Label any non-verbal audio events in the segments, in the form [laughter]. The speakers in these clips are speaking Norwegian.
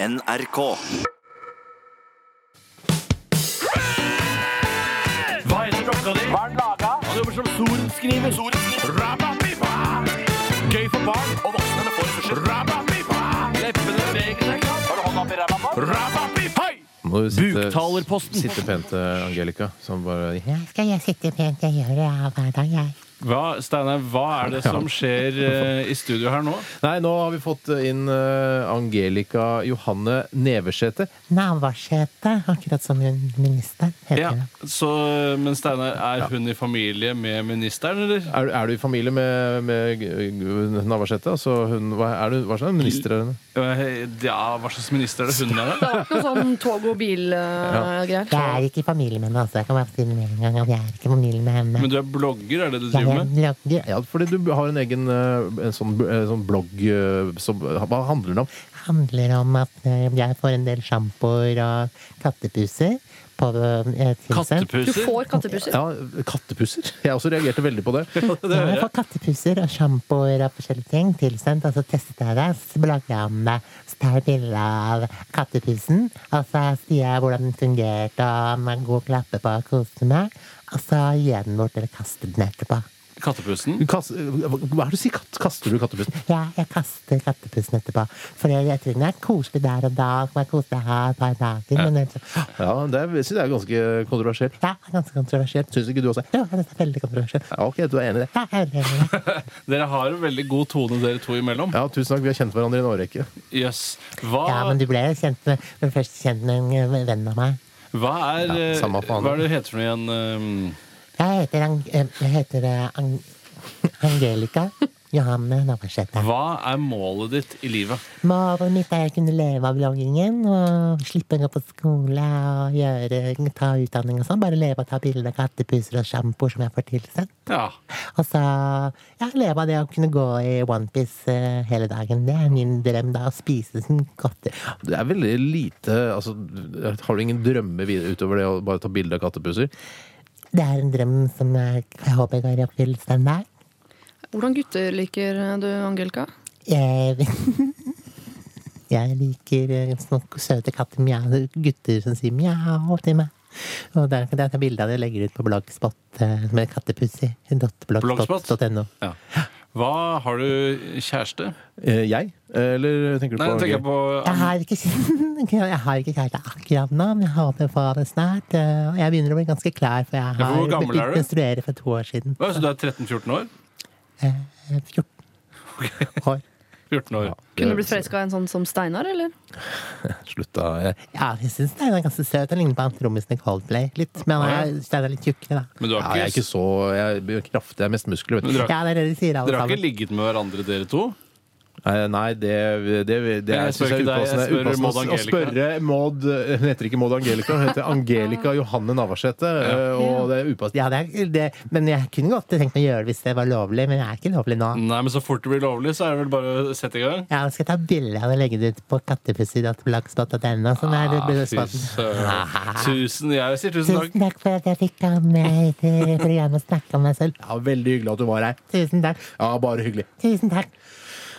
NRK. Hva heter klokka di? Hva er den laga? Han jobber som sorenskriver. Rababiba! Gøy for barn og voksne med få ressurser. Rababiba! Leppene beveger seg klart. Har du hånda oppi ræva? Rababiba! Må du sitte, Buktalerposten. Sitte pent, eh, Angelica. Som bare Ja, skal jeg sitte pent. Jeg gjør det ja, hver dag, jeg. Hva, Steinar, hva er det som skjer eh, i studio her nå? Nei, nå har vi fått inn eh, Angelica Johanne Nevesæter. Navarsete, akkurat som hun- ministeren heter. Ja, hun. så, men Steinar, er hun i familie med ministeren, eller? Er, er du i familie med, med G- G- Navarsete? Altså, hun, hva, er du, hva slags minister er hun? Eh, Ja, hva slags minister er det hun er, Det da? var ikke noe sånn tog og bil-greier. Jeg er ikke i familie med henne, altså. Jeg kan bare si det med en gang at jeg er ikke i familie med henne. Men du er blogger, er det du Jeg driver er med? blogger. Ja, fordi du har en egen eh, en sånn, eh, sånn blogg eh, som Hva handler den om? Det handler om at eh, jeg får en del sjampoer og kattepuser. På, eh, tilsendt. Du Kattepuser? får kattepusser. Ja, Kattepusser? Jeg også reagerte veldig på det. Ja, jeg får kattepuser og sjampoer og forskjellige ting tilsendt, og så tester jeg det. Så blogger jeg om det. Så tar jeg bilde av kattepusen, og så sier jeg hvordan den fungerte, og om jeg er god å klappe på og kose meg. Og så gir jeg den bort, eller kaster den etterpå. Kattepusen? Du kast, hva hva er det du sier? Katt, kaster du kattepussen? Ja, jeg kaster kattepusen etterpå. For jeg, jeg tror den er koselig der og da, og kan jeg kose meg her et par dager. Men jeg, Ja, det er- synes jeg er ganske kontroversielt. ja, det er ganske kontroversielt. Syns ikke du også? Ja, det er veldig kontroversielt. Ja, ok, du er enig i det. Ja, jeg er veldig enig i det. Dere har en veldig god tone, dere to imellom. Ja, tusen takk. Vi har kjent hverandre i en årrekke. Jøss. ja, men Hva, du ble jo kjent med, ble først kjent med en eh, venn av meg. hva er eh, Ja, samme faen. Hva er det du heter for noe igjen? eh, Jeg heter, Ang eh, jeg heter eh, Ang Angelica Johanne Navarsete. Hva er målet ditt i livet? Målet mitt er å kunne leve av bloggingen og slippe å gå på skole og gjøre, ta utdanning og sånn. Bare leve og ta bilder av kattepuser og sjampoer som jeg får tilsendt. Ja. Og så ja, leve av det å kunne gå i onepiece eh, hele dagen. Det er min drøm, da. Å spise som godteri. Det er veldig lite altså, Har du ingen drømmer videre utover det å bare ta bilde av kattepuser? Det er en drøm som jeg, jeg håper går i oppfyllelse en dag. Hvordan gutter liker eh, du, Angelica? Jeg, jeg liker eh, sånne søte katter, mjau, gutter som sier mjau til meg. Og der kan jeg ta bilde av det og legge det ut på bloggspot eh, med kattepusser. Bloggspot.no. ja. Hva Har du kjæreste? Eh, jeg? Eller tenker du Nei, på nå tenker jeg på Jeg har ikke, [laughs] jeg har ikke kjæreste akkurat nå, men jeg håper å få det snart. eh, Og jeg begynner å bli ganske klar, for jeg Ja, har for hvor gammel er du? begynt å menstruere for to år siden. Hva, Så du er 13-14 år? Eh, 14 år. 14 år. Kunne du blitt forelska i en sånn som Steinar, eller? Slutt, da. Jeg- Ja, jeg syns den er ganske søt. Den ligner på han trommisen i Coldplay litt, men han er- den er litt tjukkere, da. Men du Ja, har jeg er ikke, ikke så Jeg er kraftig, jeg er mest muskler, vet Men du. dere har, Ja, det er det de sier, alle dere har sammen. ikke ligget med hverandre, dere to? Nei, Nei, det, det, det, det Jeg er, spør synes jeg er ikke deg, jeg upassende, spør upassende Maud å- å Angelica. spørre Maud eh, Hun heter ikke Maud Angelica, hun heter Angelica Johanne Navarsete. eh, Og det er upassende. Ja, det er, det, men jeg kunne godt tenkt meg å gjøre det hvis det var lovlig, men jeg er ikke lovlig nå. Nei, men så fort det blir lovlig, så er det vel bare å sette i gang? Ja, nå skal jeg ta bilde av det og legge det ut på kattepusser.blogspot.no. Sånn er det. Ah, fy bloggspotten. søren. Tusen, jeg sier [laughs] tusen takk. Tusen takk for at jeg fikk komme med til programmet og snakke om meg selv. Ja, veldig hyggelig at du var her. Tusen takk. Ja, bare hyggelig. Tusen takk.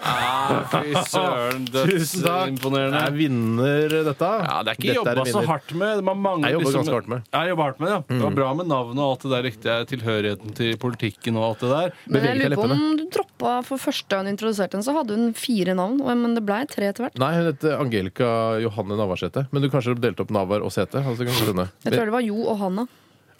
Ah, fy [laughs] søren, Tusen takk. dødsimponerende. Jeg vinner dette. Ja, det er ikke altså. Dette en jobba så vinner. hardt med. Man mangler Jeg jobber liksom- ganske hardt med. Mm. Ja, jeg jobber hardt med det, ja. Det var bra med navnet og alt det der riktige, tilhørigheten til politikken og alt det der. Men jeg Beveger seg lurer på leppene. om du droppa for første gang du introduserte henne, så hadde hun fire navn, og- men det blei tre etter hvert. Nei, hun heter Angelica Johanne Navarsete. Men du kanskje delte opp Navar og Sete? Altså, kan skjønne. Jeg tror det var Jo og Hanna.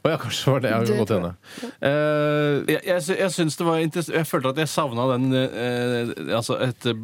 Å ja, kanskje var det. Jeg Det kan godt tror hende. Eh, Jeg, jeg, sy- jeg syns det var interessant Jeg følte at jeg savna den eh, Altså et, eh,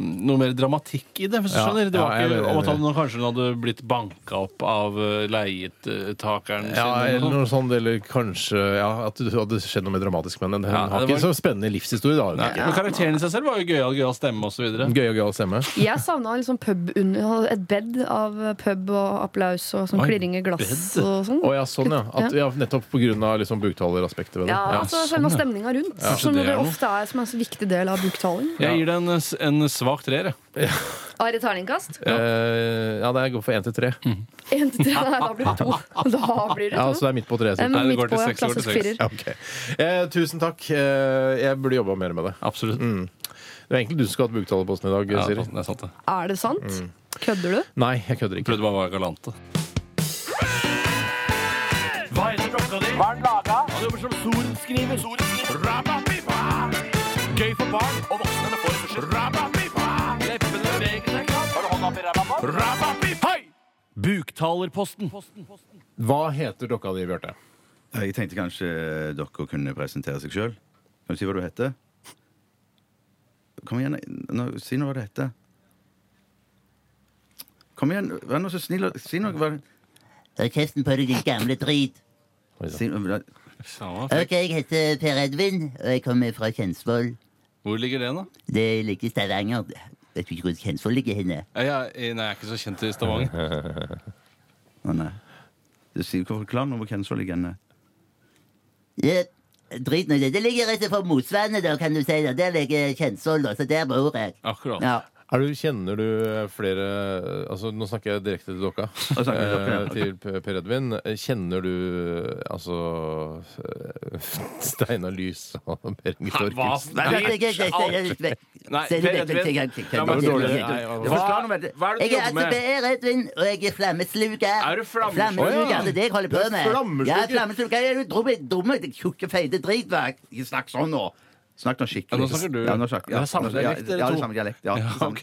noe mer dramatikk i det, hvis du Ja, skjønner. Det var ja, jeg er ikke om enig. at han, kanskje hun hadde blitt banka opp av eh, leietakeren ja, sin. eller eller noe sånt. noe sånt. Eller kanskje ja, at det hadde skjedd noe mer dramatisk. Men hun Ja, har det ikke var- så spennende livshistorie. Da, hun Nei, ikke. men karakteren i seg selv var jo gøyal, gøyal stemme osv. Gøy og gøyal stemme. Jeg savna liksom pub under, et bed av pub og applaus og sånn Oi, klirring i glass bed. og sånn. Å ja, sånn, ja. At, Ja. ja nettopp pga. Liksom, bukthaleraspektet ved det. Ja, altså sånn, ja. selve stemninga rundt, som det det er noe. ofte er som en så viktig del av buktalen. Jeg gir det en, s- en svak treer. jeg. Are terningkast? Ja. Eh, ja, det går for én til tre. En til tre. Nei, da [laughs] blir det to. Da blir det Ja, altså, to. så det er midt på treet. Nei, sikkert. Nei, det men midt går til på, ja. seks, det går til Klassisk seks. firer. Ja, ok. Eh, tusen takk. Eh, jeg burde jobba mer med det. Absolutt. Mm, Det er egentlig du som skulle hatt buktalerposten i dag, Ja, sånn. det Siri. er sant, det. Er det sant? Kødder du? Nei, jeg kødder ikke. Prøvde bare å være galante. Hva heter klokka di? Hva er den laga? Han jobber som sorenskriver. Sorenskriver. Rabba-bibba! Gøy for barn og voksne med få ressurser. Rabba-bibba! Leppene beveger seg klart. Har du hånda opp i ræva? Rabba-bibba! Buktalerposten. Hva heter dokka di, Bjarte? Ja, Jeg tenkte kanskje eh, dere kunne presentere seg sjøl. Kan du si hva du heter? Kom igjen, nå, si nå hva du heter. Kom igjen, vær nå så snill og si noe. Hva, Ta kjeften på deg, din gamle drit. si, Ok, jeg heter Per Edvin, og jeg kommer fra Kjensvoll. Hvor ligger det, da? Det ligger i Stavanger. Vet du ikke hvor Kjensvoll ligger henne? Jeg, jeg, nei, jeg er ikke så kjent i Stavanger. å nei. Du sier ikke forklar noe hvor Kensvoll ligger henne. Ja, drit nå i det. Det ligger rett for Mosvannet, da, kan du si. Da. Der ligger Kjensvoll, da, så der bor jeg. Akkurat. Ja. Er du, kjenner du flere altså Nå snakker jeg direkte til dokka. snakker jeg til dokka, ja, eh, Til P- Per Edvin. Kjenner du altså [laughs] eh, Steinar Lys og Berit Orkus? Nei, Jeg- jeg- jeg- jeg- jeg- jeg- jeg- Nei, Per Se, det- det- Edvin. det- det- det- La meg det- det- dårlig. det- det- Nei, Hva, hva- hva er det Jeg du er altså jobber med? Per Edvin, og jeg er flammesluker. Er du flammesluker? Å, ja. Det er det jeg holder på Du er med. flammesluker. Ja, flammesluker. Jeg er jo dumme, dumme tjukke, feite dritbak. Ikke snakk sånn nå! Snakk nå skikkelig. Ja, nå snakker du. Ja, nå snakker, Det er samme dialekt, dere ja, to. det er samme dialekt. Ja, Ja, det er samme. ok.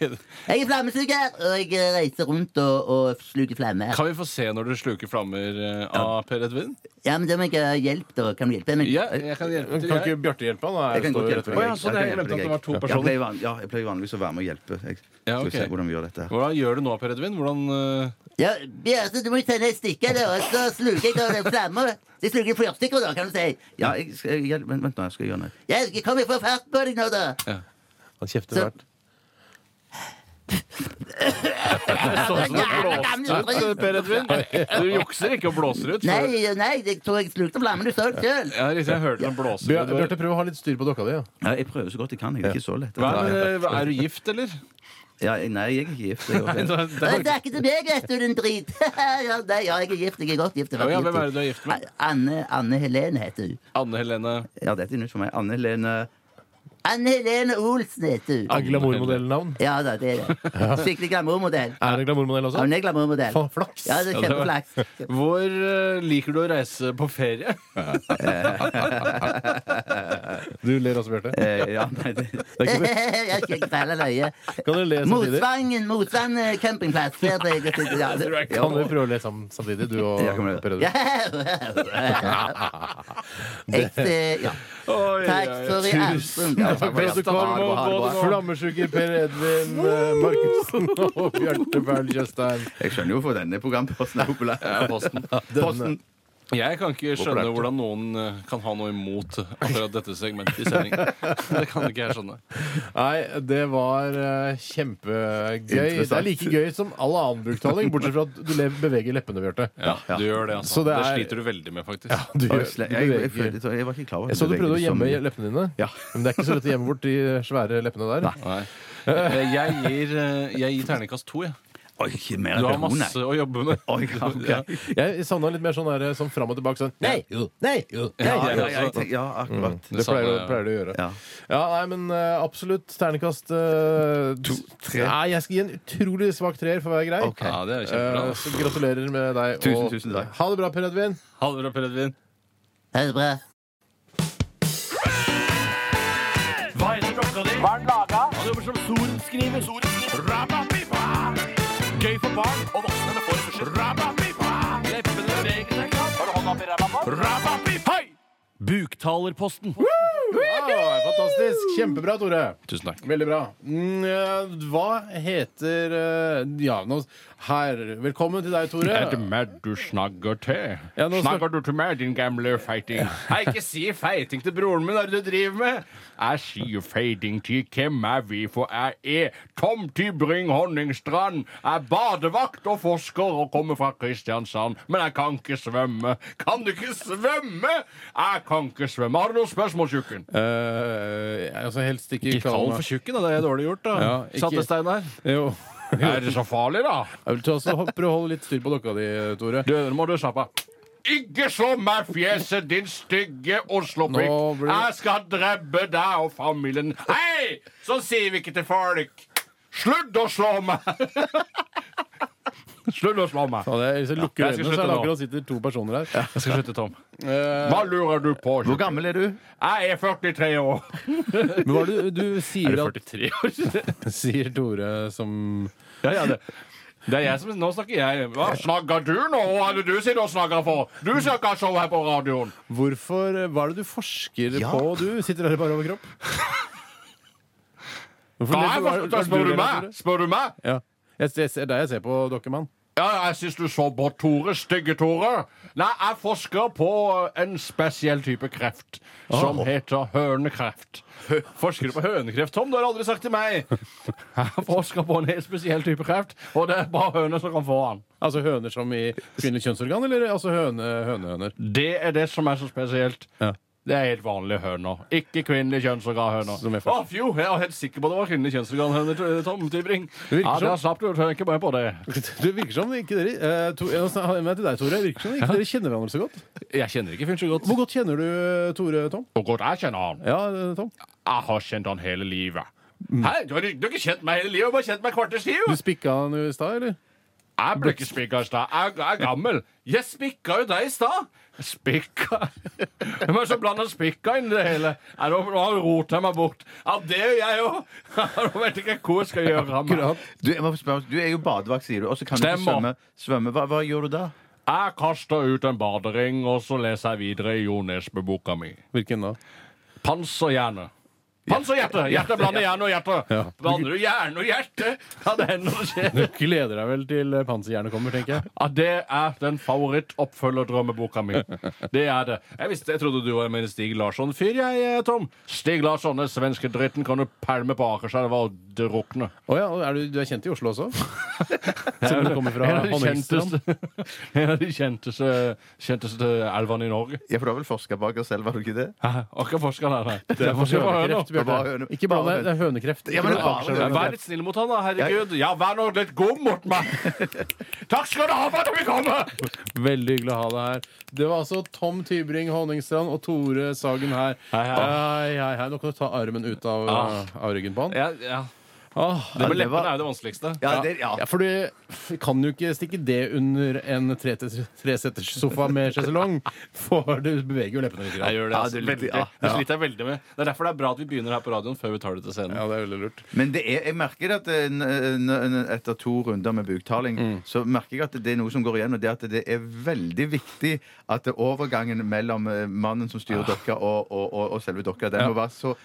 Jeg er flammesluker, og jeg eh, reiser rundt og, og sluker flammer. Kan vi få se når du sluker flammer eh, av Per Edvin? Ja, men da må jeg ha hjelp, da. Kan du hjelpe meg? Ja, jeg kan hjelpe til. Kan ikke Jeg. Bjarte hjelpe han? da? Jeg kan Står jo godt hjelpe rett deg. ved- Å, ja, så Jeg det- kan jeg hjelpe glemte at deg, det var to jeg. personer. Jeg pleier, van- ja, jeg pleier vanligvis å være med og hjelpe. Jeg, Ja, skal vi ok. se hvordan vi gjør dette her. Hvordan gjør du nå, Per Edvin? Hvordan eh, Ja, Bjarte, du må jo sende et stykke, da, og så sluker jeg da den flammer. Jeg sluker flere stykker, da, kan du si. Ja, jeg, skal- jeg, hjelp- vent, vent nå, jeg skal gjøre noe. Ja, kom, jeg får fart på deg nå, da. Han kjefter Så- hvert. Jævla gamle eh, dritt. Per Edvin, du jukser ikke og blåser ut? for- Nei, nei, jeg tror jeg slukte flammen. Du så det sjøl. Ja, riktig, jeg hørte den blåser Bjør- ut. Bjarte, prøv å ha litt styr på dokka di. Ja. Ja, jeg prøver så godt jeg kan. Jeg er ikke så lett. Hva er, men, eh, er du gift, eller? Ja, jeg- nei, jeg er ikke gift. Jeg, Nei, [laughs] er- det- det er- Det er ikke til meg, vet du, din drit. [laughs] ja, nei, ja, jeg er gift. Jeg er godt gift. jeg har vært Ja, hvem gift i- er det du er gift med? Anne, Anne Helene heter hun. Anne Helene ja, dette er nytt for meg. Anne Helene Anne Helene Olsen heter hun. Er glamourmodellnavn? Ja da, det er det. Skikkelig glamourmodell. Er det glamourmodell Ja, også? Hun er glamourmodell. Faen, flaks! Ja, det er kjempeflaks. Hvor eh, liker du å reise på ferie? Du ler også, Bjarte. eh, Ja, nei, [laughs] det [laughs] Jeg skal ikke felle løye. Kan du le samtidig? Motvangen, Motsvann eh, campingplass. Der ble jeg sitter, ja. det- Kan du prøve å le sammen samtidig, du og Jeg kan prøve. Per Edvin? [laughs] Ja. [laughs] Ekte Ja. Oi, Takk oi, for i tusen aften. takk. Vel, så kommer Harbo, harbo, både harbo. Flammesjuker Per Edvin eh, Markussen [laughs] og Bjarte Perl Tjøstheim. Jeg skjønner jo hvorfor denne programposten er populær. Ja, posten. [laughs] Posten. Jeg kan ikke skjønne Populært. hvordan noen eh, kan ha noe imot akkurat dette segmentet i sending. Det kan ikke jeg skjønne. Nei, det var eh, kjempegøy. Det er like gøy som all annen bruktaling, bortsett fra at du le- beveger leppene, Bjarte. Ja, Du gjør det, altså. Så det det, er- sliter du veldig med, faktisk. Du, Jeg, gjør- du jeg, jeg, beveger. følte- jeg var ikke klar over at Jeg så du beveger prøvde å det så gjemme mye. leppene dine. Ja. Men det er ikke så lett å gjemme bort de svære leppene der. Nei. Eh, Jeg gir, eh, jeg gir terningkast to, jeg. Oi, ikke mer Du har pepperoni, nei. masse å jobbe med. Oi, ja, ok. Ja. Jeg savna litt mer sånn der, sånn fram og tilbake. Sånn, nei, jo, nei, jo, nei. Ja, jeg ja, også. jeg tenker- ja, akkurat. Det savner pleier, du- jeg. pleier du å gjøre. Ja. Ja, nei, men eh, absolutt ternekast To, tre. Nei, jeg skal gi en utrolig svak treer for å være grei. Ok. Ja, det er Eh, kjempebra. så gratulerer med deg. Tusen, tusen takk. Ha det bra, Per Edvin. Ha det bra, Per Edvin. Ha det bra. Hva heter klokka di? Hva er den laga? Han jobber som sorenskriver. Sorenskriver. Rabba-bibba! Gøy for barn og voksne med få ressurser. Rabba-bibba! Leppene beveger seg klart. Har du hånda opp i ræva? Rabba-bibba! Buktalerposten. Wow, fantastisk. Kjempebra, Tore. Tusen takk. Veldig bra. Mm, eh, hva heter eh, Ja, nå her. Velkommen til deg, Tore. meg du snakker til? Ja, nå Snakker du til meg, din gamle feiting? Nei, ikke si feiting til broren min, hva er det du driver med? Jeg sier feiting til hvem er vi, for jeg er Tom Tybring Honningstrand. Jeg er badevakt og forsker og kommer fra Kristiansand, men jeg kan ikke svømme. Kan du ikke svømme? Jeg kan ikke svømme. Har du noen spørsmål, tjukken? Eh, altså helst ikke kall meg tjukken, da. Det er dårlig gjort, da. Ja, ikke- her. Jo. Er det så farlig, da? Jeg vil ta også Prøv å holde litt styr på dokka di, Tore. Du, nå må du slappe av. Ikke slå meg i fjeset, din stygge Oslo-pikk. Nå blir det- Jeg skal drepe deg og familien. Hei! Sånn sier vi ikke til folk. Slutt å slå meg! Slutt å slå meg! Og det, hvis jeg lukker jeg skal øynene, så er det slutte nå. akkurat sitter to personer her. Jeg skal slutte, Tom. Eh, Hva lurer du på? Hvor gammel er du? Jeg er 43 år. [laughs] men hva er det du, du sier at 43 år? Sier Tore som Ja, ja, det. Det er jeg som, nå snakker jeg. Hva snakker du nå? Hva er det du sitter og snakker for? Du skal ikke ha show her på radioen. Hvorfor, eh, Hva er det du forsker Ja. på, du? Sitter her i bare overkropp? Hvorfor [laughs] Hva leser- er hva for, hva da spør du leser, meg? Tore? Spør du meg? Ja. Jeg, jeg ser deg jeg ser på, dokkemann. Ja, jeg syns du så bort, Tore. Stygge Tore. Nei, jeg forsker på en spesiell type kreft som heter hønekreft. Forsker du på hønekreft, Tom? Det har du aldri sagt til meg. Jeg forsker på en helt spesiell type kreft, og det er bare høner som kan få den. Altså høner som i kvinnelig kjønnsorgan, eller altså høne, hønehøner? Det er det som er så spesielt. Ja. Det er helt vanlige høner. Ikke kvinnelige kjønnsorganhøner. Som Å, jeg får. fjo! Jeg var helt sikker på det var kvinnelige kjønnsorganhøner. Tom Tybring. virker Ja, det som- har slapp du å tenke mer på det. Det virker som ikke dere eh, to, jeg har en til deg, Tore. Virker som ikke dere kjenner hverandre så godt. Jeg kjenner ikke fyren så godt. Hvor godt kjenner du eh, Tore, Tom? Hvor godt jeg kjenner han. Ja, eh, Tom? Jeg har kjent han hele livet. Hæ? Du har, du har ikke kjent meg hele livet, du har bare kjent meg kvarters Du liv! spikka han jo i stad, eller? Jeg ble ikke spikka i stad. Jeg, jeg er gammel. Jeg spikka jo deg i stad! Spikka [laughs] Hvem er det som blander spikka inn i det hele? Nei, Nå nå har du rota meg bort. Ja, det gjør jeg jo! [laughs] Nå vet jeg ikke hva jeg skal gjøre. av meg. Akkurat. Du, jeg må spørre, du er jo badevakt, sier du. Og så kan du ikke svømme. Stemmer. svømme. Hva, hva gjør du da? Jeg kaster ut en badering, og så leser jeg videre i Jo Nesbø-boka mi. Hvilken da? Panserhjerne. Panserhjerte! Hjerte blander hjerne og hjerte. Blander du hjerne og hjerte, ja, det hender det skjer. Du gleder deg vel til eh, panserjernet kommer, tenker jeg. Ja, det er den favoritt-oppfølgerdrømmeboka mi. Det er det. Jeg visste, jeg trodde du var med en Stig Larsson-fyr, jeg, eh, Tom. Stig Larsson, den svenske dritten, kan du pælme på Akerselva og drukne. Å ja, og er du, du er kjent i Oslo [laughs] også? Siden du kommer fra En av de Honningstrand. kjenteste, [laughs] en av de kjenteste, kjenteste elvene i Norge. Ja, for du har vel forska bak oss selv, var du ikke det? Akkurat forsker der, nei. Det er forsker på høna. Hønekreft, Bare Bjarte. høne. Ikke blande, det er hønekreft. Ja, men Ikke bare blande det. Ja, Akerselv. Vær litt snill mot han, da. Herregud. Ja, vær nå litt god mot meg. [laughs] Takk skal du ha for at du vil komme! Veldig hyggelig å ha deg her. Det var altså Tom Tybring Honningstrand og Tore Sagen her. Hei, hei. hei, hei, hei. Nå kan du ta armen ut av, Ah. av ryggen på han. Ja, ja. Ah. Det med det var- leppene er jo det vanskeligste. Ja, det, ja. Ja, for du f- kan jo ikke stikke det under en tre- treseters sofa med sjeselong, for du beveger jo leppene litt. Jeg Grann. gjør det, Ja, altså. du litt- veldig. ja. Det sliter jeg veldig med. Det er derfor det er bra at vi begynner her på radioen før vi tar det til scenen. Ja, det er veldig lurt. Men det er, jeg merker at eh, n- n- n- etter to runder med buktaling, Mm. så merker jeg at det er noe som går igjen, og det er at det er veldig viktig at det overgangen mellom eh, mannen som Ah. styrer dokka, og, og, og, og selve dokka, den må være så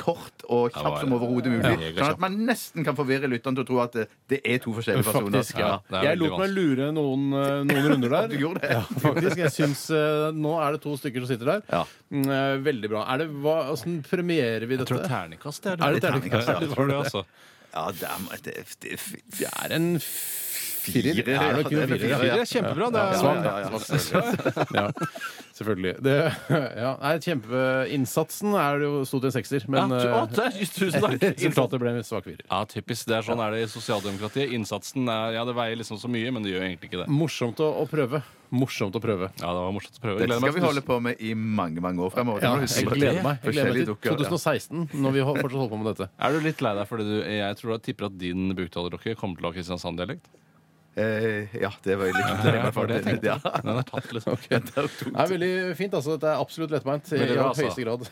kort og Ja, kjapp bare- som overhodet mulig. Ja. Sånn at man nesten kan forvirre lytteren til å tro at det, det er to forskjellige personer. Faktisk, ja. det er Jeg veldig lot meg lure noen, eh, noen runder [laughs] der. Du gjorde det. Ja, faktisk. Jeg syns eh, Nå er det to stykker som sitter der. Ja. Mm, eh, Veldig bra. Er det, hva, hvordan premierer vi dette? terningkast det Er det Det er terningkast? terningkast, ja. Jeg tror det, altså. Ja, det er, det, det, det, Det er en firer. Firer, ja. Er det ikke en firer? Det er kjempebra. Det er Ja, ja, ja. Ja, selvfølgelig. Det, ja, nei, kjempeinnsatsen er det jo sto til en sekser, men Ja, eh, tu- å, Tusen takk. resultatet ble en svak firer. Ja, typisk. Det er sånn er det i sosialdemokratiet. Innsatsen er, ja, det veier liksom så mye, men det gjør egentlig Mm. ikke det. Morsomt å, å prøve. Morsomt å prøve. Ja, det var morsomt å prøve. Dette Gleder skal meg vi til- holde på med i mange, mange år fremover. Ja, jeg gleder meg. Jeg gleder meg til Forskjellige dukker, ja. 2016, når vi hol- fortsatt holder på med dette. Er du litt lei deg fordi du, jeg tror jeg tipper at din buktalerrokke kommer til å ha Kristiansand-dialekt? Eh, ja, det [laughs] var litt det var det jeg tenkte. [laughs] Ja. Den er tatt, liksom. Det er veldig fint. altså. Dette er absolutt lettbeint i Veldig bra, aller høyeste grad.